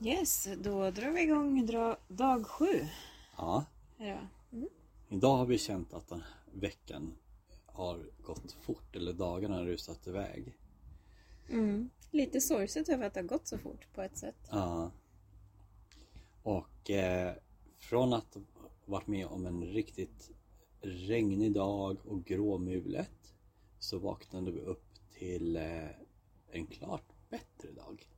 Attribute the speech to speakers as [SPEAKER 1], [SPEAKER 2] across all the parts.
[SPEAKER 1] Yes, då drar vi igång dra, dag sju.
[SPEAKER 2] Ja,
[SPEAKER 1] Här
[SPEAKER 2] idag har vi känt att den här veckan har gått fort, eller dagarna har rusat iväg.
[SPEAKER 1] då.
[SPEAKER 2] Mm.
[SPEAKER 1] Lite sorgset över att det har gått så fort på ett sätt.
[SPEAKER 2] Ja. Och eh, från att ha varit med om en riktigt regnig dag och gråmulet så vaknade vi upp till eh, en klart bättre dag.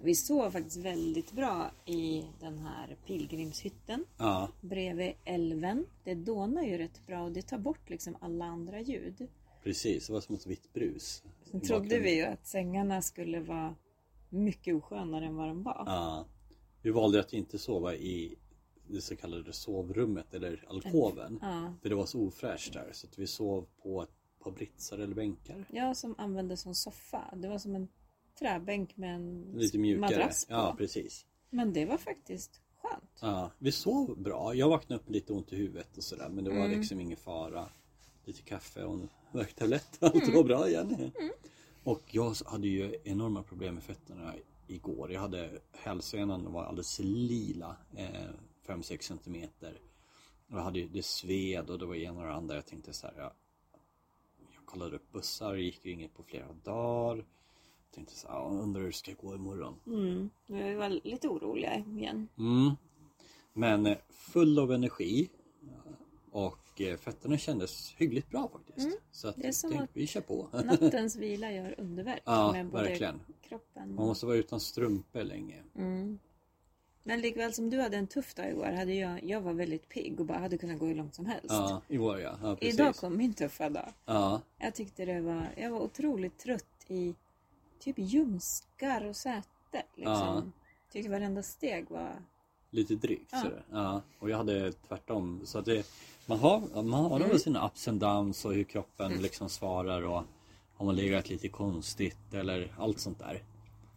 [SPEAKER 1] Vi sov faktiskt väldigt bra i den här pilgrimshytten
[SPEAKER 2] Ja,
[SPEAKER 1] bredvid älven. Det dånar ju rätt bra och det tar bort liksom alla andra ljud.
[SPEAKER 2] precis. Det var som ett vitt brus.
[SPEAKER 1] Sen
[SPEAKER 2] i
[SPEAKER 1] trodde
[SPEAKER 2] bakgrunden.
[SPEAKER 1] vi ju att sängarna skulle vara mycket oskönare än vad de var.
[SPEAKER 2] Ja. Vi valde att inte sova i det så kallade sovrummet eller alkoven.
[SPEAKER 1] Ja.
[SPEAKER 2] För det var så ofräscht där så att vi sov på ett par britsar eller bänkar.
[SPEAKER 1] Jag som använde som soffa. Det var som en träbänk med en
[SPEAKER 2] Lite mjukare.
[SPEAKER 1] madrass på.
[SPEAKER 2] Ja, precis.
[SPEAKER 1] Men det var faktiskt skönt.
[SPEAKER 2] Ja, vi sov bra. Jag vaknade upp med lite ont i huvudet och sådär men det var liksom ingen fara. Lite kaffe och en värktablett. Allt var bra igen. Och jag hade ju enorma problem med fötterna igår. Jag hade hälsenan var alldeles lila. Eh, 5-6 centimeter. Och jag hade, ju- det sved och det var ena och det andra. Jag tänkte så här. Jag, jag kollade upp bussar, det gick ju inget på flera dagar. Jag tänkte så här, "Ja, undrar hur det ska gå imorgon.
[SPEAKER 1] Mm. Vi var lite oroliga igen.
[SPEAKER 2] Mm. Men eh, full av energi och eh, fötterna kändes hyggligt bra faktiskt. Så att
[SPEAKER 1] Mm. Det är som
[SPEAKER 2] tänk,
[SPEAKER 1] att-
[SPEAKER 2] vi kör på.
[SPEAKER 1] Nattens vila gör underverk
[SPEAKER 2] Ja,
[SPEAKER 1] med både
[SPEAKER 2] verkligen.
[SPEAKER 1] kroppen
[SPEAKER 2] Man
[SPEAKER 1] och...
[SPEAKER 2] måste vara utan strumpor länge.
[SPEAKER 1] Mm. Men likväl som du hade en tuff dag igår hade jag, jag var väldigt pigg och bara hade kunnat gå hur långt som helst.
[SPEAKER 2] Ja, i vår ja. ja precis.
[SPEAKER 1] Idag kom min tuffa dag.
[SPEAKER 2] Ja,
[SPEAKER 1] Jag tyckte det var, jag var otroligt trött i typ ljumskar och säte. Liksom. Tyckte varenda steg var...
[SPEAKER 2] lite drygt
[SPEAKER 1] Ja.
[SPEAKER 2] sådär. Ja, och jag hade tvärtom. Så att det, man har, man har mm. sina ups and downs och hur kroppen liksom svarar och har man legat lite konstigt eller allt sånt där.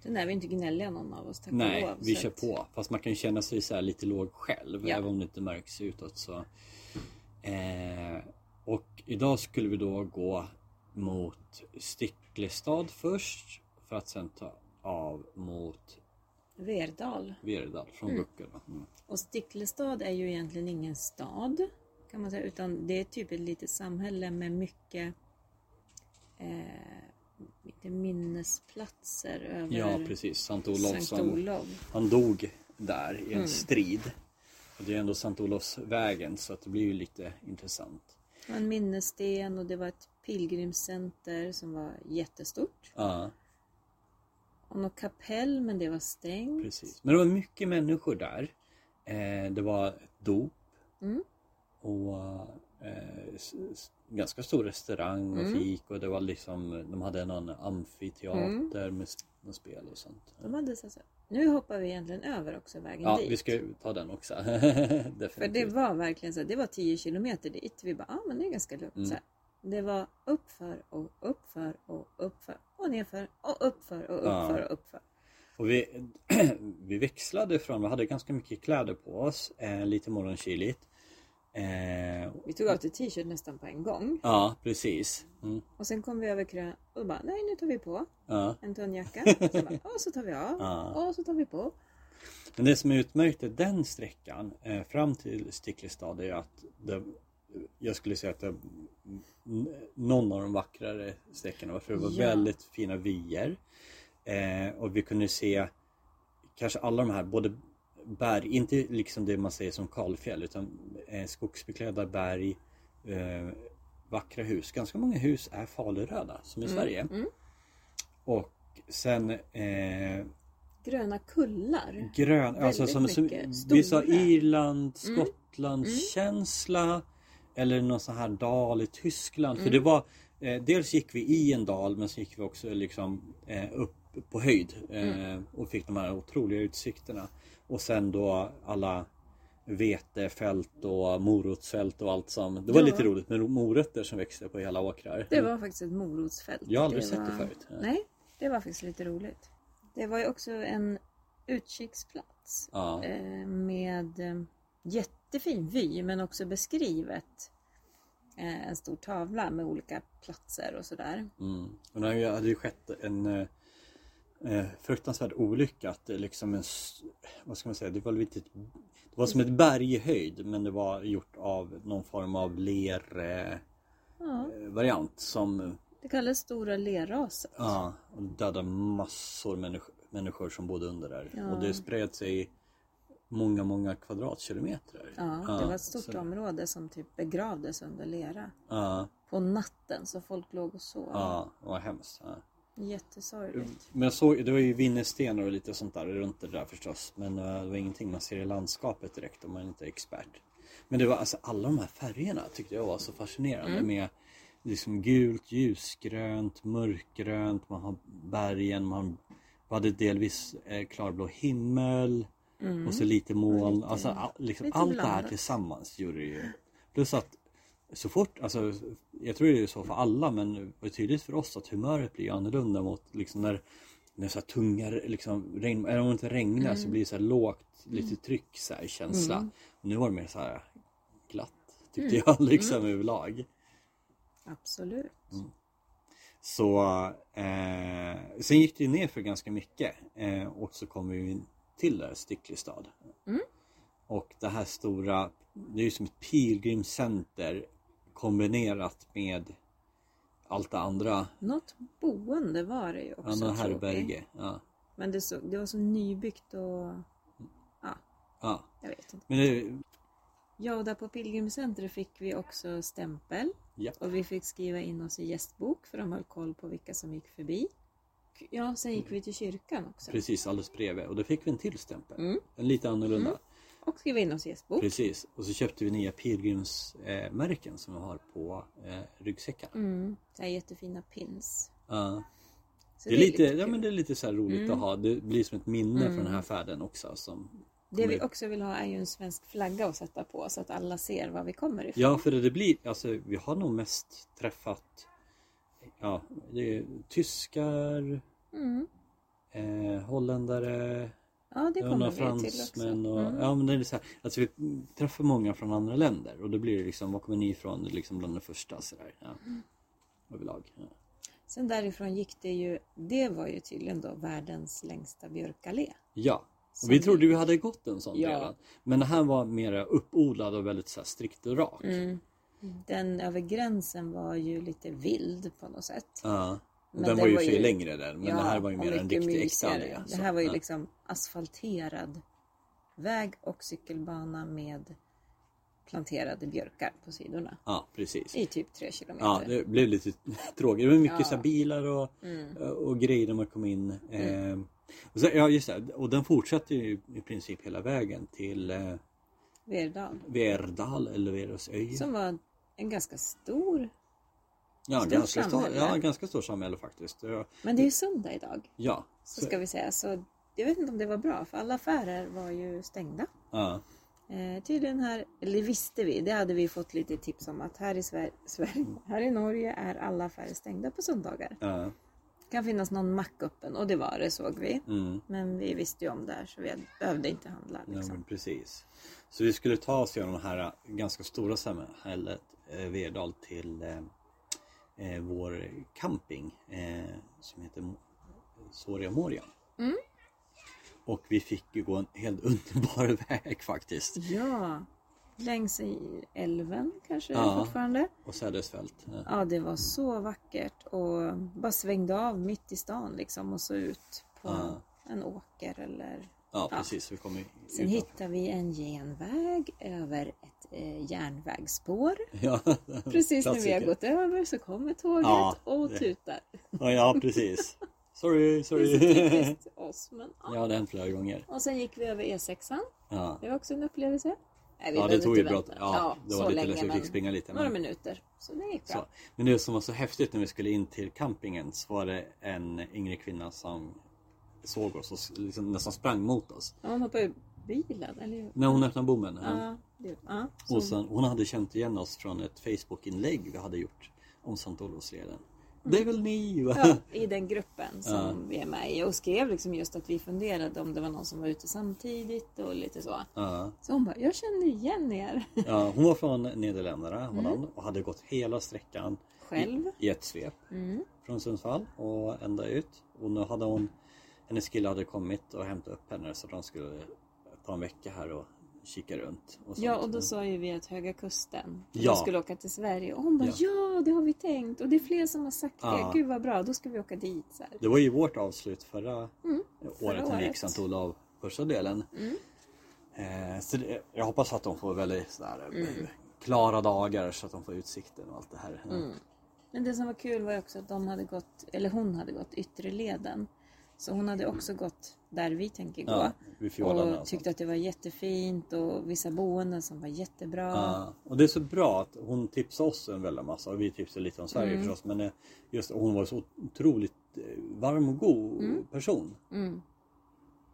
[SPEAKER 1] Sen är vi inte gnälliga någon av oss tack och
[SPEAKER 2] Nej,
[SPEAKER 1] lov.
[SPEAKER 2] vi
[SPEAKER 1] så
[SPEAKER 2] kör
[SPEAKER 1] att-
[SPEAKER 2] på. Fast man kan ju känna sig så här lite låg själv,
[SPEAKER 1] Ja.
[SPEAKER 2] även om det inte märks utåt. Så. Eh, och idag skulle vi då gå mot Sticklestad först, för att sen ta av mot
[SPEAKER 1] Verdal.
[SPEAKER 2] Verdal från Buckel. va? Mm.
[SPEAKER 1] Och Sticklestad är ju egentligen ingen stad kan man säga, utan det är typ ett litet samhälle med mycket eh, lite minnesplatser över
[SPEAKER 2] Ja, precis. Sankt Olofs,
[SPEAKER 1] Sankt
[SPEAKER 2] han,
[SPEAKER 1] Mm. Olof.
[SPEAKER 2] han dog där i en strid. Och det är ändå Sankt Olofsvägen, så att det blir ju lite intressant.
[SPEAKER 1] Det var en minnessten och det var ett pilgrimscenter som var jättestort.
[SPEAKER 2] Ja,
[SPEAKER 1] Och något kapell, men det var stängt.
[SPEAKER 2] Precis. Men det var mycket människor där. Eh, det var ett dop.
[SPEAKER 1] Mm.
[SPEAKER 2] Och eh, s- s- ganska stor restaurang och
[SPEAKER 1] Mm.
[SPEAKER 2] fik och det var liksom, de hade någon amfiteater
[SPEAKER 1] Mm.
[SPEAKER 2] med, s- med spel och sånt.
[SPEAKER 1] De hade så så- nu hoppar vi egentligen över också vägen
[SPEAKER 2] Ja,
[SPEAKER 1] dit.
[SPEAKER 2] vi ska ju ta den också.
[SPEAKER 1] För det
[SPEAKER 2] Definitivt.
[SPEAKER 1] var verkligen så, här, det var 10 kilometer dit. Vi bara, ja ah, men det är ganska lugnt.
[SPEAKER 2] Mm.
[SPEAKER 1] Så här. Det var uppför och uppför och uppför och nerför och uppför och
[SPEAKER 2] Ja.
[SPEAKER 1] uppför och uppför.
[SPEAKER 2] Och vi, vi växlade från, vi hade ganska mycket kläder på oss, eh, lite morgonkyligt. Eh,
[SPEAKER 1] Vi tog av till t-shirt nästan på en gång.
[SPEAKER 2] ja, precis. Mm,
[SPEAKER 1] Och sen kom vi över krön och bara, nej nu tar vi på
[SPEAKER 2] ja.
[SPEAKER 1] en tunnjacka. Sen bara, och så tar vi av
[SPEAKER 2] Ja.
[SPEAKER 1] och så tar vi på.
[SPEAKER 2] Men det som utmärkte den sträckan eh, fram till Sticklestad är att det, jag skulle säga att det, n- någon av de vackrare sträckorna var för det var
[SPEAKER 1] Ja.
[SPEAKER 2] väldigt fina vyer. Eh, och vi kunde se kanske alla de här, både berg, inte liksom det man säger som kalfjäll utan eh, skogsbeklädda berg, eh, vackra hus. Ganska många hus är faluröda som i
[SPEAKER 1] Mm.
[SPEAKER 2] Sverige. Och sen eh,
[SPEAKER 1] Gröna kullar.
[SPEAKER 2] grön, alltså
[SPEAKER 1] Väldigt
[SPEAKER 2] som, som
[SPEAKER 1] mycket stora. Mm.
[SPEAKER 2] vissa Irland, Skottland känsla eller någon sån här dal i Tyskland. För
[SPEAKER 1] Mm.
[SPEAKER 2] det var, eh, dels gick vi i en dal men så gick vi också liksom eh, upp på höjd eh,
[SPEAKER 1] Mm.
[SPEAKER 2] och fick de här otroliga utsikterna. Och sen då alla vetefält och morotsfält och allt som. Det var
[SPEAKER 1] Ja.
[SPEAKER 2] lite roligt med morötter som växte på hela åkrar.
[SPEAKER 1] Det var faktiskt ett morotsfält.
[SPEAKER 2] Mm. Jag har aldrig sett
[SPEAKER 1] var...
[SPEAKER 2] det förut.
[SPEAKER 1] Nej, det var faktiskt lite roligt. Det var ju också en utkiksplats.
[SPEAKER 2] Ja.
[SPEAKER 1] eh, med eh, jättefin vy men också beskrivet eh, en stor tavla med olika platser och sådär.
[SPEAKER 2] Mm. Och det hade ju skett en eh, eh, fruktansvärd olycka. Att det liksom en, s- vad ska man säga, det var lite, det var som ett berg i höjd men det var gjort av någon form av lervariant
[SPEAKER 1] Ja,
[SPEAKER 2] eh, variant som
[SPEAKER 1] det kallas stora lerraset.
[SPEAKER 2] ja, och dödade massor människor, människor som bodde under där.
[SPEAKER 1] Ja.
[SPEAKER 2] Och det spred sig många, många kvadratkilometer.
[SPEAKER 1] Ja, det
[SPEAKER 2] Ja,
[SPEAKER 1] var ett stort
[SPEAKER 2] så-
[SPEAKER 1] område som typ begravdes under lera.
[SPEAKER 2] Ja,
[SPEAKER 1] På natten så folk låg och sov.
[SPEAKER 2] ja, vad hemskt. Ja.
[SPEAKER 1] Jättesorgligt.
[SPEAKER 2] Men jag såg, det var ju vinnerstenar och lite sånt där runt det där förstås. Men eh, det var ingenting man ser i landskapet direkt om man inte är expert. Men det var alltså alla de här färgerna tyckte jag var så fascinerande med liksom gult, ljusgrönt, mörkgrönt, man har bergen, man hade delvis eh, klarblå himmel Mm. och så lite moln. alltså, all, liksom,
[SPEAKER 1] lite
[SPEAKER 2] allt det här
[SPEAKER 1] blandat.
[SPEAKER 2] tillsammans gjorde det ju. Plus att så fort, alltså, jag tror det är så för alla men det var tydligt för oss att humöret blir annorlunda mot liksom när när så här tunga, liksom, regn, eller om det inte regnar så
[SPEAKER 1] Mm.
[SPEAKER 2] blir det så här lågt, lite tryck så här, i känsla. Och nu var det mer så här glatt tyckte
[SPEAKER 1] Mm.
[SPEAKER 2] jag liksom överlag.
[SPEAKER 1] Absolut.
[SPEAKER 2] Så eh, sen gick det ju ner för ganska mycket eh, och så kom vi ju in till där Sticklestad.
[SPEAKER 1] Mm.
[SPEAKER 2] Och det här stora, det är ju som ett pilgrimscenter kombinerat med allt det andra,
[SPEAKER 1] Något boende var det ju också.
[SPEAKER 2] andra
[SPEAKER 1] tror vi.
[SPEAKER 2] herberge. Ja.
[SPEAKER 1] Men det, så, det var så nybyggt och... Ja,
[SPEAKER 2] Ja.
[SPEAKER 1] jag vet inte.
[SPEAKER 2] Men det,
[SPEAKER 1] Ja, och där på Pilgrimscentret fick vi också stämpel.
[SPEAKER 2] ja.
[SPEAKER 1] Och vi fick skriva in oss i gästbok för de höll koll på vilka som gick förbi. Ja, sen gick vi till kyrkan också.
[SPEAKER 2] Precis, alldeles bredvid. Och då fick vi en till stämpel.
[SPEAKER 1] Mm. Oh.
[SPEAKER 2] En lite annorlunda.
[SPEAKER 1] Och skrev in oss i gästbok.
[SPEAKER 2] Precis. Och så köpte vi nya pilgrimsmärken som vi har på eh, ryggsäckarna.
[SPEAKER 1] Mm. Så här jättefina pins.
[SPEAKER 2] Ja.
[SPEAKER 1] Så
[SPEAKER 2] det, är lite, ja,
[SPEAKER 1] kul.
[SPEAKER 2] men det är lite så här roligt
[SPEAKER 1] Mm.
[SPEAKER 2] att ha. Det blir som ett minne från den här färden också. Som
[SPEAKER 1] Det vi
[SPEAKER 2] kommer-
[SPEAKER 1] också vill ha är ju en svensk flagga att sätta på så att alla ser var vi kommer ifrån.
[SPEAKER 2] Ja, för det, det blir, alltså vi har nog mest träffat ja, det är tyskar,
[SPEAKER 1] Mm.
[SPEAKER 2] eh, holländare,
[SPEAKER 1] Ja, det
[SPEAKER 2] Ja, några
[SPEAKER 1] kommer vi till också. Mm.
[SPEAKER 2] fransmän och, ja, men det är så här, alltså vi träffar många från andra länder och då blir det liksom, var kommer ni ifrån? Det är liksom bland det första sådär. Ja.
[SPEAKER 1] Mm.
[SPEAKER 2] Överlag. Ja.
[SPEAKER 1] Sen därifrån gick det ju, det var ju tydligen då världens längsta björkallé.
[SPEAKER 2] ja.
[SPEAKER 1] Som
[SPEAKER 2] Och vi trodde vi hade gått en sån
[SPEAKER 1] Ja.
[SPEAKER 2] redan. Men det här var mera uppodlad och väldigt så här strikt och rak.
[SPEAKER 1] Mm. Den över gränsen var ju lite vild på något sätt.
[SPEAKER 2] Ja. Och
[SPEAKER 1] Men
[SPEAKER 2] den
[SPEAKER 1] det
[SPEAKER 2] var ju i
[SPEAKER 1] var
[SPEAKER 2] och för sig
[SPEAKER 1] ju-
[SPEAKER 2] längre där men det här var ju
[SPEAKER 1] och
[SPEAKER 2] mer en
[SPEAKER 1] mycket
[SPEAKER 2] riktig äkta
[SPEAKER 1] mysigare.
[SPEAKER 2] allé.
[SPEAKER 1] Det
[SPEAKER 2] alltså.
[SPEAKER 1] här var ju
[SPEAKER 2] ja.
[SPEAKER 1] liksom asfalterad väg och cykelbana med planterade björkar på sidorna.
[SPEAKER 2] Ja, precis.
[SPEAKER 1] I typ tre kilometer.
[SPEAKER 2] Ja, det blev lite tråkigt. Det var mycket
[SPEAKER 1] Ja.
[SPEAKER 2] så här bilar och,
[SPEAKER 1] Mm.
[SPEAKER 2] och grejer när man kom in. Eh, och så, ja, just det. Och den fortsatte ju i princip hela vägen till eh,
[SPEAKER 1] Verdal.
[SPEAKER 2] Verdal eller Verosöy.
[SPEAKER 1] Som var en ganska stor,
[SPEAKER 2] Ja,
[SPEAKER 1] stort
[SPEAKER 2] ganska stor,
[SPEAKER 1] samhälle.
[SPEAKER 2] ja, ganska stor samhälle faktiskt. Ja,
[SPEAKER 1] men det är ju söndag idag.
[SPEAKER 2] Ja,
[SPEAKER 1] Så ska vi säga. Så jag vet inte om det var bra för alla affärer var ju stängda.
[SPEAKER 2] ja,
[SPEAKER 1] Eh, tydligen här, eller det visste vi, det hade vi fått lite tips om att här i Sver- Sverige,
[SPEAKER 2] Mm.
[SPEAKER 1] här i Norge är alla affärer stängda på söndagar.
[SPEAKER 2] ja,
[SPEAKER 1] Det kan finnas någon mack öppen och det var det såg vi.
[SPEAKER 2] mm,
[SPEAKER 1] Men vi visste ju om det här så vi behövde inte handla.
[SPEAKER 2] ja,
[SPEAKER 1] Liksom.
[SPEAKER 2] men precis. Så vi skulle ta oss genom det här eh, ganska stora samhället eh, Verdal till eh, eh, vår camping eh, som heter Mo- Soria Moria.
[SPEAKER 1] Mm.
[SPEAKER 2] Och vi fick ju gå en helt underbar väg faktiskt.
[SPEAKER 1] Ja, längs i älven kanske
[SPEAKER 2] Ja.
[SPEAKER 1] fortfarande.
[SPEAKER 2] Och Sädesfält. eh.
[SPEAKER 1] Ja, det var så vackert och bara svängde av mitt i stan liksom och så ut på
[SPEAKER 2] Ja.
[SPEAKER 1] en åker eller
[SPEAKER 2] Ja,
[SPEAKER 1] Ja.
[SPEAKER 2] precis. Vi kom ju
[SPEAKER 1] Sen
[SPEAKER 2] utanför.
[SPEAKER 1] hittar vi en genväg över ett eh, järnvägsspår.
[SPEAKER 2] Ja,
[SPEAKER 1] Precis när vi har
[SPEAKER 2] klassiker.
[SPEAKER 1] gått över så kommer tåget
[SPEAKER 2] Ja,
[SPEAKER 1] och
[SPEAKER 2] det-
[SPEAKER 1] tutar.
[SPEAKER 2] Ja, ja precis. Sorry,
[SPEAKER 1] Det är så
[SPEAKER 2] sorry.
[SPEAKER 1] typiskt oss. Men, ja.
[SPEAKER 2] Ja, det har hänt flera gånger.
[SPEAKER 1] Och sen gick vi över E E6an.
[SPEAKER 2] Ja,
[SPEAKER 1] Det var också en upplevelse. Nej, vi
[SPEAKER 2] ja det
[SPEAKER 1] behöver
[SPEAKER 2] tog ju
[SPEAKER 1] inte
[SPEAKER 2] bra.
[SPEAKER 1] vänta.
[SPEAKER 2] Ja, det var
[SPEAKER 1] så
[SPEAKER 2] lite
[SPEAKER 1] länge,
[SPEAKER 2] läskigt. Vi
[SPEAKER 1] men
[SPEAKER 2] fick springa lite.
[SPEAKER 1] Några
[SPEAKER 2] Men,
[SPEAKER 1] minuter. Så det gick bra.
[SPEAKER 2] så. men det som var så häftigt när vi skulle in till campingen så var det en yngre kvinna som såg oss och s- liksom nästan sprang mot oss.
[SPEAKER 1] Ja, hon hoppade ur bilen, eller hur?
[SPEAKER 2] När hon öppnade bommen.
[SPEAKER 1] Mm. Ja, det, ja, så-
[SPEAKER 2] Och sen, hon hade känt igen oss från ett Facebook-inlägg vi hade gjort om Sankt Olofsleden. Det är väl ni? Va?
[SPEAKER 1] Mm. ja, I den gruppen som vi är med i. Och skrev liksom just att vi funderade om det var någon som var ute samtidigt och lite så.
[SPEAKER 2] Ja.
[SPEAKER 1] Så hon bara, jag känner igen er.
[SPEAKER 2] Ja, hon var från Nederländerna, Holland
[SPEAKER 1] Mm.
[SPEAKER 2] och hade gått hela sträckan
[SPEAKER 1] Själv.
[SPEAKER 2] i ett svep.
[SPEAKER 1] Mm.
[SPEAKER 2] från Sundsvall och ända ut. Och nu hade hon Hennes kille hade kommit och hämtat upp henne så de skulle ta en vecka här och kika runt. Och
[SPEAKER 1] Ja,
[SPEAKER 2] sånt.
[SPEAKER 1] och då sa ju vi att Höga Kusten,
[SPEAKER 2] Ja.
[SPEAKER 1] vi skulle åka till Sverige. Och hon bara,
[SPEAKER 2] Ja.
[SPEAKER 1] ja. det har vi tänkt. Och det är fler som har sagt
[SPEAKER 2] Ja.
[SPEAKER 1] det. Gud vad bra, då ska vi åka dit. Så här.
[SPEAKER 2] Det var ju vårt avslut förra året när vi gick
[SPEAKER 1] Mm, året. Mm.
[SPEAKER 2] Sankt Olav, första delen. Eh, så det, jag hoppas att de får väldigt sådär,
[SPEAKER 1] Mm.
[SPEAKER 2] eh, klara dagar så att de får utsikten och allt det här.
[SPEAKER 1] Mm, Men det som var kul var ju också att de hade gått, eller hon hade gått yttre leden. Så hon hade också gått där vi tänker gå.
[SPEAKER 2] Ja, vid fjordarna
[SPEAKER 1] och
[SPEAKER 2] alltså.
[SPEAKER 1] tyckte att det var jättefint och vissa boenden som var jättebra.
[SPEAKER 2] Ja, och det är så bra att hon tipsar oss en väldig massa och vi tipsar lite om Sverige
[SPEAKER 1] Mm.
[SPEAKER 2] förstås men eh, just hon var så otroligt eh, varm och god
[SPEAKER 1] Mm.
[SPEAKER 2] person.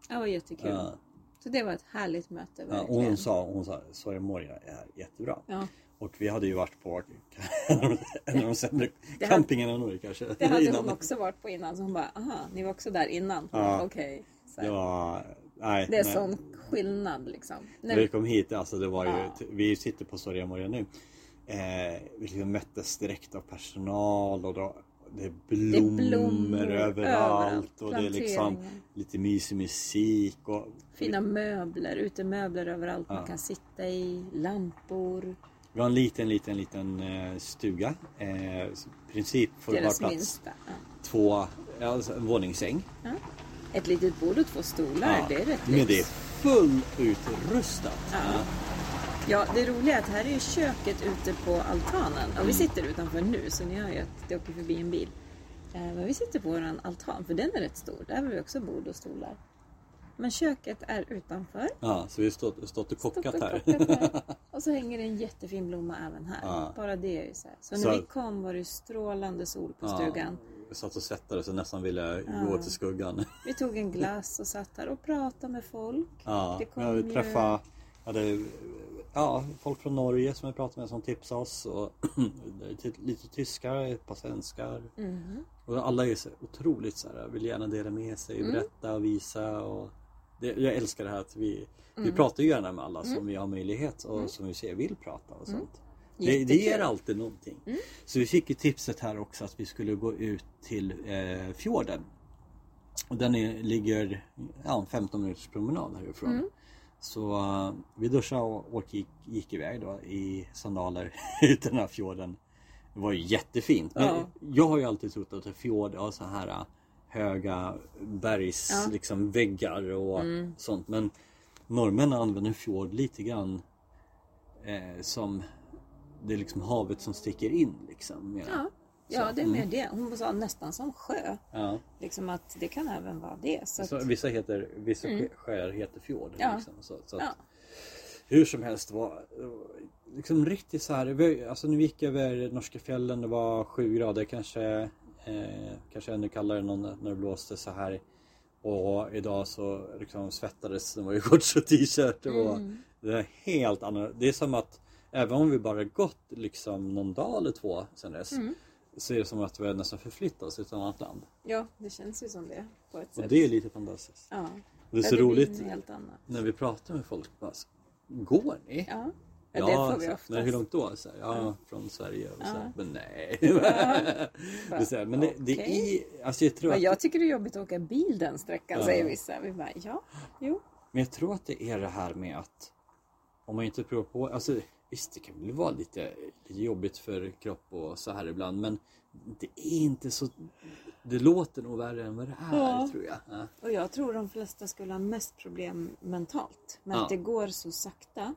[SPEAKER 1] Ja, och jättekul.
[SPEAKER 2] Ja.
[SPEAKER 1] Så det var ett härligt möte
[SPEAKER 2] Ja, och
[SPEAKER 1] verkligen.
[SPEAKER 2] hon sa, hon sa Soria Moria är jättebra.
[SPEAKER 1] Ja.
[SPEAKER 2] Och vi hade ju varit på en av de- en av de sämre
[SPEAKER 1] Det hade-
[SPEAKER 2] campingarna i Norge kanske.
[SPEAKER 1] Det hade
[SPEAKER 2] innan.
[SPEAKER 1] hon också varit på innan. Så hon bara, aha, ni var också där innan.
[SPEAKER 2] Ja.
[SPEAKER 1] Okej. Så här.
[SPEAKER 2] Det var... Nej,
[SPEAKER 1] Det är
[SPEAKER 2] nej.
[SPEAKER 1] sån skillnad liksom.
[SPEAKER 2] När
[SPEAKER 1] När
[SPEAKER 2] vi kom hit, alltså det var ju,
[SPEAKER 1] Ja.
[SPEAKER 2] t- vi sitter på Soria Moria nu. Eh, vi liksom möttes direkt av personal och då, det är blommor,
[SPEAKER 1] blommor
[SPEAKER 2] överallt
[SPEAKER 1] överallt,
[SPEAKER 2] och det är liksom
[SPEAKER 1] planteringar.
[SPEAKER 2] lite mysig musik och
[SPEAKER 1] Fina möbler, utemöbler överallt
[SPEAKER 2] Ja.
[SPEAKER 1] man kan sitta i, lampor.
[SPEAKER 2] vi har en liten, liten, liten eh, stuga. Eh, så I princip får det vara
[SPEAKER 1] Deras
[SPEAKER 2] plats
[SPEAKER 1] minsta. Ja.
[SPEAKER 2] två, alltså en våningssäng.
[SPEAKER 1] Ja. Ett litet bord och två stolar,
[SPEAKER 2] Ja,
[SPEAKER 1] det är rätt
[SPEAKER 2] Men
[SPEAKER 1] lyx.
[SPEAKER 2] det är fullutrustat. Ja.
[SPEAKER 1] Ja, det roliga är att här är ju köket ute på altanen.
[SPEAKER 2] Mm.
[SPEAKER 1] Och vi sitter utanför nu, så ni hör ju att det åker förbi en bil. Eh, Men vi sitter på våran altan, för den är rätt stor. Där har vi också bord och stolar. Men köket är utanför.
[SPEAKER 2] Ja, så vi har stått, stått och
[SPEAKER 1] Stått och
[SPEAKER 2] kockat här.
[SPEAKER 1] kockat här. Och så hänger det en jättefin blomma även här.
[SPEAKER 2] Ja.
[SPEAKER 1] Bara det är ju så här. Så när
[SPEAKER 2] Så-
[SPEAKER 1] vi kom var det strålande sol på
[SPEAKER 2] Ja.
[SPEAKER 1] stugan.
[SPEAKER 2] Jag satt och svettades och nästan ville gå till skuggan.
[SPEAKER 1] Vi tog en glass och satt där och pratade med folk.
[SPEAKER 2] Ja,
[SPEAKER 1] Det kom
[SPEAKER 2] jag
[SPEAKER 1] ju-
[SPEAKER 2] träffade jag hade, ja, folk från Norge som jag pratade med som tipsade oss. Och lite- lite tyskar, ett par svenskar. Och alla är så otroligt så här, vill gärna dela med sig,
[SPEAKER 1] Mm.
[SPEAKER 2] berätta och visa. Och det, jag älskar det här att vi,
[SPEAKER 1] Mm.
[SPEAKER 2] vi pratar ju gärna med alla som vi har möjlighet och som vi ser vill prata och sånt. Det, det ger
[SPEAKER 1] Mm. Jättekul. Mm.
[SPEAKER 2] alltid någonting. Så vi fick ju tipset här också att vi skulle gå ut till eh, fjorden. Och den är, ligger ja, en 15 minuters promenad härifrån.
[SPEAKER 1] Mm.
[SPEAKER 2] Så eh, vi duschade och, och gick, gick iväg då i sandaler ut den här fjorden. Det var ju jättefint. Men
[SPEAKER 1] Ja.
[SPEAKER 2] jag har ju alltid trott att en fjord har så här eh, höga bergs,
[SPEAKER 1] Ja. Mm.
[SPEAKER 2] liksom, väggar och sånt. Men norrmännen använder fjord lite grann eh, som det är liksom havet som sticker in liksom. mera.
[SPEAKER 1] Ja, ja det är
[SPEAKER 2] mm.
[SPEAKER 1] mer det. Hon sa nästan som sjö.
[SPEAKER 2] Ja.
[SPEAKER 1] Liksom att det kan även vara det. Så att, Mm.
[SPEAKER 2] Så vissa heter, vissa sjöar heter fjord.
[SPEAKER 1] Ja.
[SPEAKER 2] Liksom. Så, så att,
[SPEAKER 1] ja.
[SPEAKER 2] Hur som helst var liksom riktigt så här. vi- Alltså när vi gick över norska fjällen det var sju grader kanske. Eh, kanske ännu kallare än någon- när det blåste så här. Och idag så liksom svettades det var ju shorts och t-shirt. Och
[SPEAKER 1] Mm.
[SPEAKER 2] det är helt annorlunda. Det är som att även om vi bara gått liksom någon dag eller två sedan dess.
[SPEAKER 1] Mm.
[SPEAKER 2] Så är det som att vi nästan förflyttat oss till ett annat land.
[SPEAKER 1] ja, det känns ju som det på ett
[SPEAKER 2] Och
[SPEAKER 1] sätt.
[SPEAKER 2] det är lite fantastiskt.
[SPEAKER 1] ja.
[SPEAKER 2] Det är
[SPEAKER 1] Ja,
[SPEAKER 2] så
[SPEAKER 1] blir
[SPEAKER 2] roligt
[SPEAKER 1] en Helt annat.
[SPEAKER 2] när vi pratar med folk. Bara, så, Går ni?
[SPEAKER 1] Ja. Ja, det får vi
[SPEAKER 2] så här,
[SPEAKER 1] oftast.
[SPEAKER 2] men hur långt då? Så här, ja, från Sverige. Och så här, Men nej. det är så här, men det, det är,
[SPEAKER 1] Okej.
[SPEAKER 2] alltså jag tror
[SPEAKER 1] Men
[SPEAKER 2] att,
[SPEAKER 1] jag tycker det är jobbigt att åka bil den sträckan,
[SPEAKER 2] Ja.
[SPEAKER 1] säger vissa. Vi bara, ja, jo.
[SPEAKER 2] men jag tror att det är det här med att om man inte provar på, alltså visst det kan väl vara lite, lite jobbigt för kropp och så här ibland men det är inte så, det låter nog värre än vad det är
[SPEAKER 1] Ja.
[SPEAKER 2] tror jag. Ja.
[SPEAKER 1] Och jag tror de flesta skulle ha mest problem mentalt. Men
[SPEAKER 2] Ja.
[SPEAKER 1] att det går så sakta.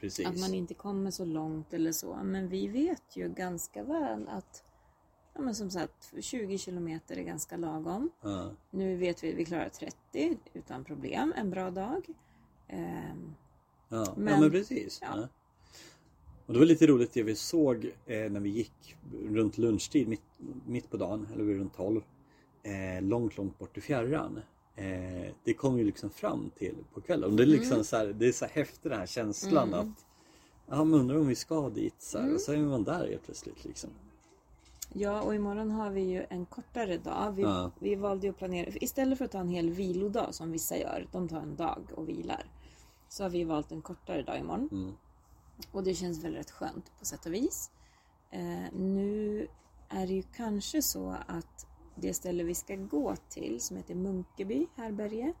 [SPEAKER 2] Precis.
[SPEAKER 1] Att man inte kommer så långt eller så. Men vi vet ju ganska väl att ja, men som sagt, 20 kilometer är ganska lagom.
[SPEAKER 2] ja.
[SPEAKER 1] Nu vet vi att vi klarar 30 utan problem en bra dag. Ehm,
[SPEAKER 2] Ja, men, ja,
[SPEAKER 1] Men-
[SPEAKER 2] men precis.
[SPEAKER 1] ja.
[SPEAKER 2] Ja. Och det var lite roligt det vi såg eh, när vi gick runt lunchtid, mitt, mitt på dagen, eller vid runt 12. Eh, långt, långt bort i fjärran. Eh, det kom ju liksom fram till på kvällen. Och det är liksom
[SPEAKER 1] Mm.
[SPEAKER 2] så här, det är så här häftig den här känslan att ja, man undrar om vi ska dit så här.
[SPEAKER 1] Mm.
[SPEAKER 2] Och så är man där helt plötsligt liksom.
[SPEAKER 1] ja, och imorgon har vi ju en kortare dag. Vi,
[SPEAKER 2] Ja.
[SPEAKER 1] vi valde ju att planera. Istället för att ta en hel vilodag som vissa gör, de tar en dag och vilar. Så har vi valt en kortare dag imorgon.
[SPEAKER 2] Mm.
[SPEAKER 1] Och det känns väl rätt skönt på sätt och vis. Eh, nu är det ju kanske så att det ställe vi ska gå till som heter Munkeby härberge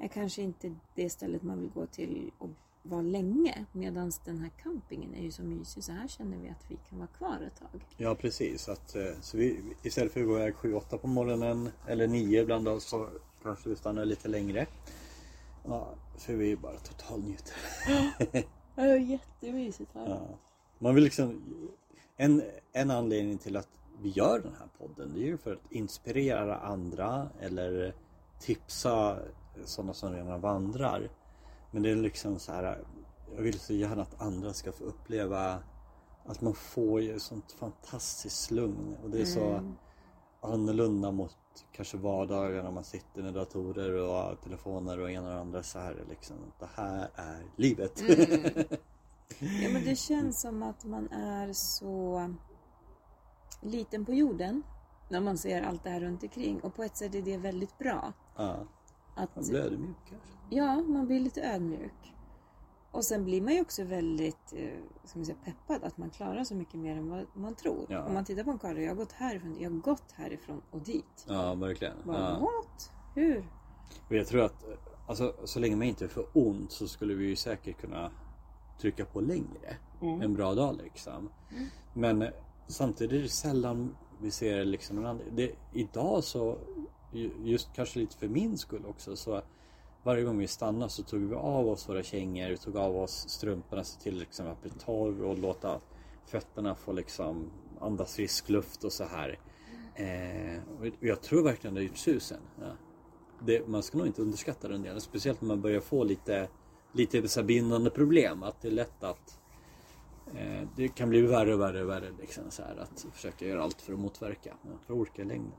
[SPEAKER 1] är kanske inte det stället man vill gå till och vara länge. Medan den här campingen är ju så mysig så här känner vi att vi kan vara kvar ett tag.
[SPEAKER 2] Ja precis, att, eh, så vi, istället för att gå iväg 7-8 på morgonen eller 9 ibland då, så kanske vi stannar lite längre. Ja, för vi är bara totalnjutare.
[SPEAKER 1] Ja, det är jättemysigt här.
[SPEAKER 2] Ja. Man vill liksom... En, en anledning till att vi gör den här podden det är ju för att inspirera andra eller tipsa sådana som redan vandrar. Men det är liksom så här Jag vill så gärna att andra ska få uppleva att man får ju sånt fantastiskt lugn och det är så annorlunda mot kanske vardagar när man sitter med datorer och telefoner och ena och andra så här liksom. Det här är livet.
[SPEAKER 1] Ja, men det känns som att man är så liten på jorden när man ser allt det här runt omkring. Och på ett sätt är det väldigt bra.
[SPEAKER 2] ja.
[SPEAKER 1] Att,
[SPEAKER 2] Man blir ödmjuk kanske.
[SPEAKER 1] ja, man blir lite ödmjuk. Och sen blir man ju också väldigt eh, ska man säga, peppad att man klarar så mycket mer än vad man tror.
[SPEAKER 2] Ja.
[SPEAKER 1] Om man tittar på en karta, jag har gått härifrån, jag har gått härifrån och dit.
[SPEAKER 2] Ja, verkligen.
[SPEAKER 1] Bara,
[SPEAKER 2] Ja.
[SPEAKER 1] what? Hur?
[SPEAKER 2] Och jag tror att alltså, så länge man inte är för ont så skulle vi ju säkert kunna trycka på längre. En bra dag liksom. Men samtidigt är det sällan vi ser liksom en annan... Det, idag så, ju- just kanske lite för min skull också, så varje gång vi stannade så tog vi av oss våra kängor, vi tog av oss strumporna så till liksom att bli torr och låta fötterna få liksom andas frisk luft och så här. Eh, och jag tror verkligen det har gjort susen. Ja det, man ska nog inte underskatta den delen. Speciellt när man börjar få lite, lite så här bindande problem. Att det är lätt att eh, det kan bli värre och värre och värre. Liksom, så här, att försöka göra allt för att motverka. Ja, för att orka i längden.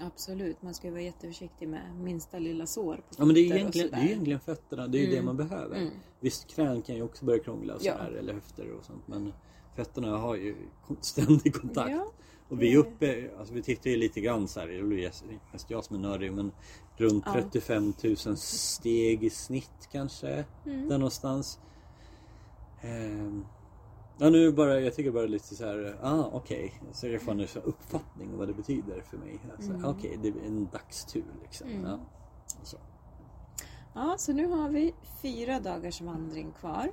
[SPEAKER 1] Absolut, man ska ju vara jätteförsiktig med minsta lilla sår på
[SPEAKER 2] Ja, men det är,
[SPEAKER 1] fötter
[SPEAKER 2] ju
[SPEAKER 1] och
[SPEAKER 2] egentligen, det
[SPEAKER 1] sådär.
[SPEAKER 2] är ju egentligen fötterna. Det är ju det man behöver. Visst, knän kan ju också börja krångla och så
[SPEAKER 1] Mm. Ja.
[SPEAKER 2] här, eller höfter och sånt. Men fötterna har ju kon- ständig kontakt.
[SPEAKER 1] Ja.
[SPEAKER 2] Och vi är uppe, alltså vi tittar ju lite grann så här, det blir mest jag som är nördig, men runt 35 000 steg i snitt kanske. Där någonstans. Ehm, ja, nu bara, jag tycker bara lite så här, ah okej. Så jag får en så här uppfattning om vad det betyder för mig. Alltså, Okej, det är en dagstur liksom. Ja. Så.
[SPEAKER 1] Ja, så nu har vi fyra dagars vandring kvar.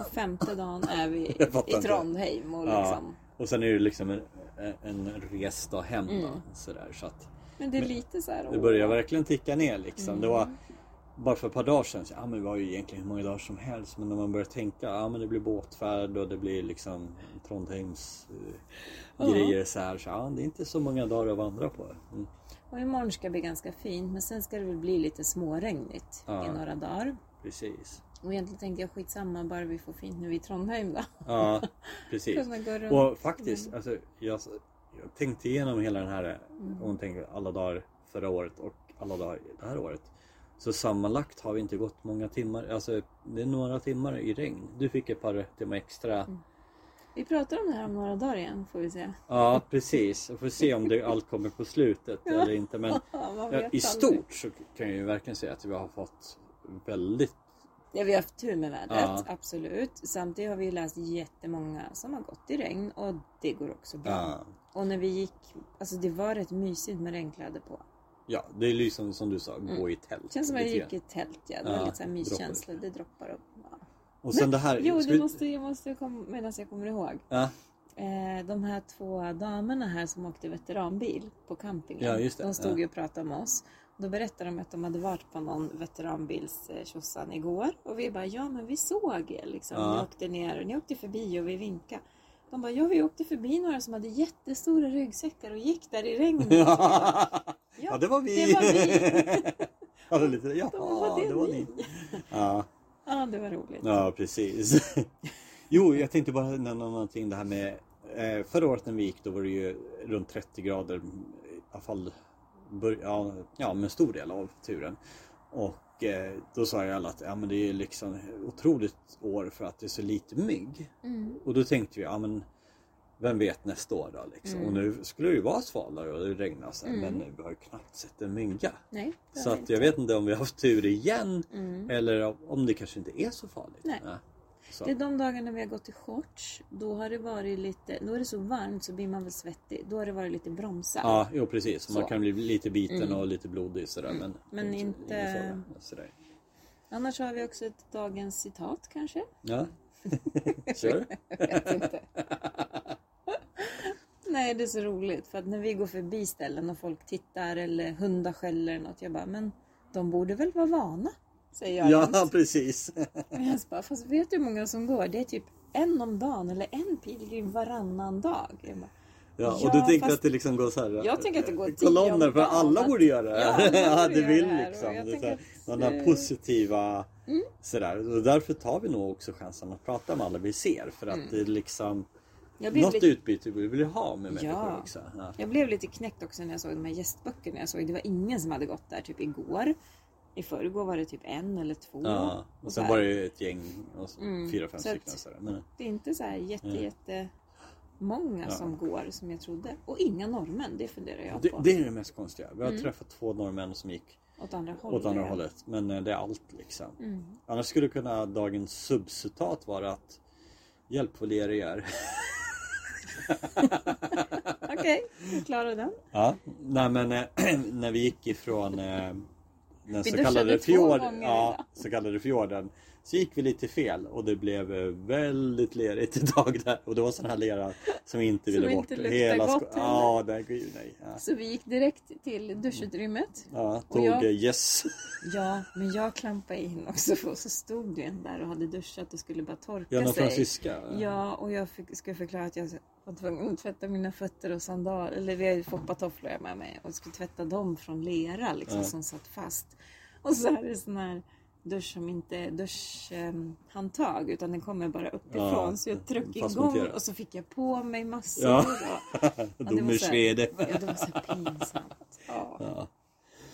[SPEAKER 1] Och femte dagen är vi
[SPEAKER 2] Jag fattar
[SPEAKER 1] i
[SPEAKER 2] inte.
[SPEAKER 1] Trondheim och liksom.
[SPEAKER 2] Och sen är det liksom en, en resdag hem då, så, där, så att
[SPEAKER 1] Men det är lite så här...
[SPEAKER 2] Det
[SPEAKER 1] åh.
[SPEAKER 2] börjar verkligen ticka ner liksom. Det var bara för ett par dagar sedan, så, ja, men det var ju egentligen hur många dagar som helst. Men när man börjar tänka, ja men det blir båtfärd och det blir liksom Trondheims eh,
[SPEAKER 1] Ja.
[SPEAKER 2] grejer så här. Så, ja, det är inte så många dagar att vandra på. Mm.
[SPEAKER 1] Och imorgon ska bli ganska fint, men sen ska det väl bli lite småregnigt
[SPEAKER 2] Ja.
[SPEAKER 1] i några dagar.
[SPEAKER 2] Precis.
[SPEAKER 1] Och egentligen tänkte jag skitsamma, bara vi får fint nu i Trondheim då.
[SPEAKER 2] Ja, precis.
[SPEAKER 1] Kunna gå runt.
[SPEAKER 2] Och faktiskt, alltså, jag, jag tänkte igenom hela den här, om man tänker alla dagar förra året och alla dagar det här året. Så sammanlagt har vi inte gått många timmar, alltså det är några timmar i regn. Du fick ett par timmar extra.
[SPEAKER 1] Vi pratar om det här om några dagar igen, får vi se.
[SPEAKER 2] Ja precis, och får se om det allt kommer på slutet eller inte. Men
[SPEAKER 1] Ja, man
[SPEAKER 2] ja,
[SPEAKER 1] vet
[SPEAKER 2] i
[SPEAKER 1] aldrig.
[SPEAKER 2] stort så kan jag ju verkligen säga att vi har fått väldigt
[SPEAKER 1] Ja, vi har haft tur med vädret,
[SPEAKER 2] Ja.
[SPEAKER 1] absolut. Samtidigt har vi läst jättemånga som har gått i regn och det går också bra.
[SPEAKER 2] Ja.
[SPEAKER 1] Och när vi gick, alltså det var rätt mysigt med regnkläder på.
[SPEAKER 2] Ja, det är liksom som du sa, gå i tält.
[SPEAKER 1] Det känns som att jag
[SPEAKER 2] lite
[SPEAKER 1] gick i
[SPEAKER 2] grann.
[SPEAKER 1] ett tält, ja. Det var
[SPEAKER 2] Ja,
[SPEAKER 1] lite så här myskänsla,
[SPEAKER 2] droppar.
[SPEAKER 1] det droppar upp. Ja.
[SPEAKER 2] Och sen det här...
[SPEAKER 1] Jo,
[SPEAKER 2] ska
[SPEAKER 1] det
[SPEAKER 2] vi-
[SPEAKER 1] måste, jag måste komma, medan jag kommer ihåg.
[SPEAKER 2] Ja,
[SPEAKER 1] Eh, de här två damerna här som åkte veteranbil på campingen.
[SPEAKER 2] Ja, just det.
[SPEAKER 1] De stod
[SPEAKER 2] Ja.
[SPEAKER 1] ju och pratade med oss. Då berättade de att de hade varit på någon veteranbilstjosan igår. Och vi bara, ja men vi såg er liksom.
[SPEAKER 2] Ja.
[SPEAKER 1] Ni åkte ner och ni åkte förbi och vi vinkade. De bara, ja vi åkte förbi några som hade jättestora ryggsäckar och gick där i regnet.
[SPEAKER 2] ja, det var vi!
[SPEAKER 1] Det var vi.
[SPEAKER 2] ja, det var lite, jaha,
[SPEAKER 1] De bara, var det,
[SPEAKER 2] det var
[SPEAKER 1] ni?
[SPEAKER 2] ni. Ja.
[SPEAKER 1] Ja, det var roligt.
[SPEAKER 2] Ja, precis. Jo, jag tänkte bara nämna någonting det här med eh, Förra året när vi gick då var det ju runt 30 grader i alla fall bör, ja, ja, men en stor del av turen. Och eh, då sa ju alla att ja, men det är liksom otroligt år för att det är så lite mygg.
[SPEAKER 1] Mm.
[SPEAKER 2] Och då tänkte vi, ja men vem vet nästa år då liksom.
[SPEAKER 1] Mm.
[SPEAKER 2] Och nu skulle det ju vara svalare och det regnar så här, men vi har ju knappt sett en mygga.
[SPEAKER 1] Nej, Mm. det
[SPEAKER 2] Så
[SPEAKER 1] var Mm.
[SPEAKER 2] att jag vet inte om vi har haft tur igen eller om det kanske inte är så farligt. Äh,
[SPEAKER 1] Nej.
[SPEAKER 2] Så.
[SPEAKER 1] Det är de dagarna vi har gått i shorts. Då har det varit lite, då är det så varmt så blir man väl svettig. Då har det varit lite bromsad.
[SPEAKER 2] Ja, jo precis. Man
[SPEAKER 1] Så. Mm.
[SPEAKER 2] kan bli lite biten och lite blodig sådär. Men,
[SPEAKER 1] Men
[SPEAKER 2] ingen
[SPEAKER 1] inte-
[SPEAKER 2] fara, Sådär.
[SPEAKER 1] Annars har vi också ett dagens citat kanske.
[SPEAKER 2] Ja. Kör.
[SPEAKER 1] vet inte. Nej, det är så roligt. För att när vi går förbi ställen och folk tittar eller hundar skäller eller något. Jag bara, men de borde väl vara vana? Säger jag. jämt.
[SPEAKER 2] Ja, precis.
[SPEAKER 1] Och jag bara, fast vet du hur många som går? Det är typ en om dagen eller en pilgrim varannan dag. Jag, bara,
[SPEAKER 2] Ja, och
[SPEAKER 1] Ja,
[SPEAKER 2] du tänkte
[SPEAKER 1] fast-
[SPEAKER 2] att det liksom går så här.
[SPEAKER 1] Jag tänker att det går tio om
[SPEAKER 2] Kolonner för
[SPEAKER 1] dagen.
[SPEAKER 2] alla borde göra det.
[SPEAKER 1] Ja, alla borde
[SPEAKER 2] det
[SPEAKER 1] göra
[SPEAKER 2] vill
[SPEAKER 1] det här,
[SPEAKER 2] liksom.
[SPEAKER 1] och jag
[SPEAKER 2] Det är så
[SPEAKER 1] tänker
[SPEAKER 2] här,
[SPEAKER 1] att, Mm.
[SPEAKER 2] den här
[SPEAKER 1] eh,
[SPEAKER 2] positiva sådär. Och därför tar vi nog också chansen att prata med alla vi ser. För att det är liksom
[SPEAKER 1] Mm. jag, blev
[SPEAKER 2] något
[SPEAKER 1] lite,
[SPEAKER 2] utbyte vi vill ha med människor
[SPEAKER 1] Ja.
[SPEAKER 2] också. Ja.
[SPEAKER 1] jag blev lite knäckt också när jag såg de här gästböckerna. Jag såg, det var ingen som hade gått där typ igår. I förrgår var det typ en eller två.
[SPEAKER 2] Ja. Och
[SPEAKER 1] så
[SPEAKER 2] sen
[SPEAKER 1] här.
[SPEAKER 2] var det ju ett gäng, och så,
[SPEAKER 1] Mm.
[SPEAKER 2] fyra, fem
[SPEAKER 1] Så
[SPEAKER 2] stycken.
[SPEAKER 1] att-
[SPEAKER 2] Sådär. Men,
[SPEAKER 1] Det är inte så här jätte,
[SPEAKER 2] Nej.
[SPEAKER 1] jätte många
[SPEAKER 2] Mm. Ja.
[SPEAKER 1] som går som jag trodde. Och inga norrmän, det funderar jag Mm.
[SPEAKER 2] det,
[SPEAKER 1] på.
[SPEAKER 2] det är det mest konstiga. Vi har träffat två norrmän som gick
[SPEAKER 1] åt andra hållet.
[SPEAKER 2] åt andra hållet. Men eh, det är allt liksom.
[SPEAKER 1] Mm.
[SPEAKER 2] Annars skulle kunna dagens subcitat vara att Hjälp vad det är det gör.
[SPEAKER 1] Okej, vi klarar den.
[SPEAKER 2] Ja, nej men eh, när vi gick ifrån eh, den så
[SPEAKER 1] duschade
[SPEAKER 2] kallade,
[SPEAKER 1] två
[SPEAKER 2] fjord,
[SPEAKER 1] gånger
[SPEAKER 2] ja,
[SPEAKER 1] idag.
[SPEAKER 2] så kallade fjorden så gick vi lite fel och det blev eh, väldigt lerigt ett tag där och det var sån här lera som vi inte
[SPEAKER 1] Som
[SPEAKER 2] ville bort.
[SPEAKER 1] inte luktar
[SPEAKER 2] sko-
[SPEAKER 1] gott heller.
[SPEAKER 2] Ja, nej, gud, nej. Ja,
[SPEAKER 1] Så vi gick direkt till duschutrymmet.
[SPEAKER 2] ja
[SPEAKER 1] Och
[SPEAKER 2] tog
[SPEAKER 1] jag-
[SPEAKER 2] eh, yes.
[SPEAKER 1] Ja, men jag klampade in också för så stod det en där och hade duschat och skulle bara torka
[SPEAKER 2] Ja, någon
[SPEAKER 1] sig.
[SPEAKER 2] fransyska.
[SPEAKER 1] Ja, och jag fick, skulle förklara att jag var tvungen att tvätta mina fötter och sandaler. Eller vi har ju foppatofflor jag med mig. Och skulle tvätta dem från lera liksom,
[SPEAKER 2] Ja.
[SPEAKER 1] som satt fast. Och så är det sån här dusch som inte är duschhandtag utan den kommer bara uppifrån.
[SPEAKER 2] Ja,
[SPEAKER 1] så jag tryckte igång
[SPEAKER 2] fastmonterad.
[SPEAKER 1] och så fick jag på mig massor.
[SPEAKER 2] Ja.
[SPEAKER 1] Och, det var
[SPEAKER 2] Domer
[SPEAKER 1] så här-
[SPEAKER 2] Svede.
[SPEAKER 1] ja, det var så pinsamt. Ja.
[SPEAKER 2] Ja.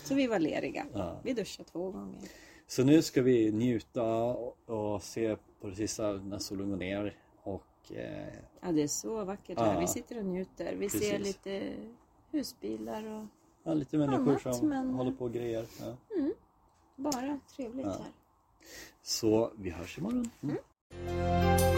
[SPEAKER 1] Så vi var leriga.
[SPEAKER 2] Ja.
[SPEAKER 1] Vi duschade två gånger.
[SPEAKER 2] Så nu ska vi njuta och se på det sista när solen går ner och eh,
[SPEAKER 1] Ja, det är så vackert här.
[SPEAKER 2] Ja.
[SPEAKER 1] Vi sitter och njuter. Vi ser
[SPEAKER 2] Precis.
[SPEAKER 1] lite husbilar och
[SPEAKER 2] ja, lite människor
[SPEAKER 1] Annat,
[SPEAKER 2] som
[SPEAKER 1] men-
[SPEAKER 2] håller på och grejer. Ja.
[SPEAKER 1] bara trevligt här.
[SPEAKER 2] Så vi hörs imorgon. Mm.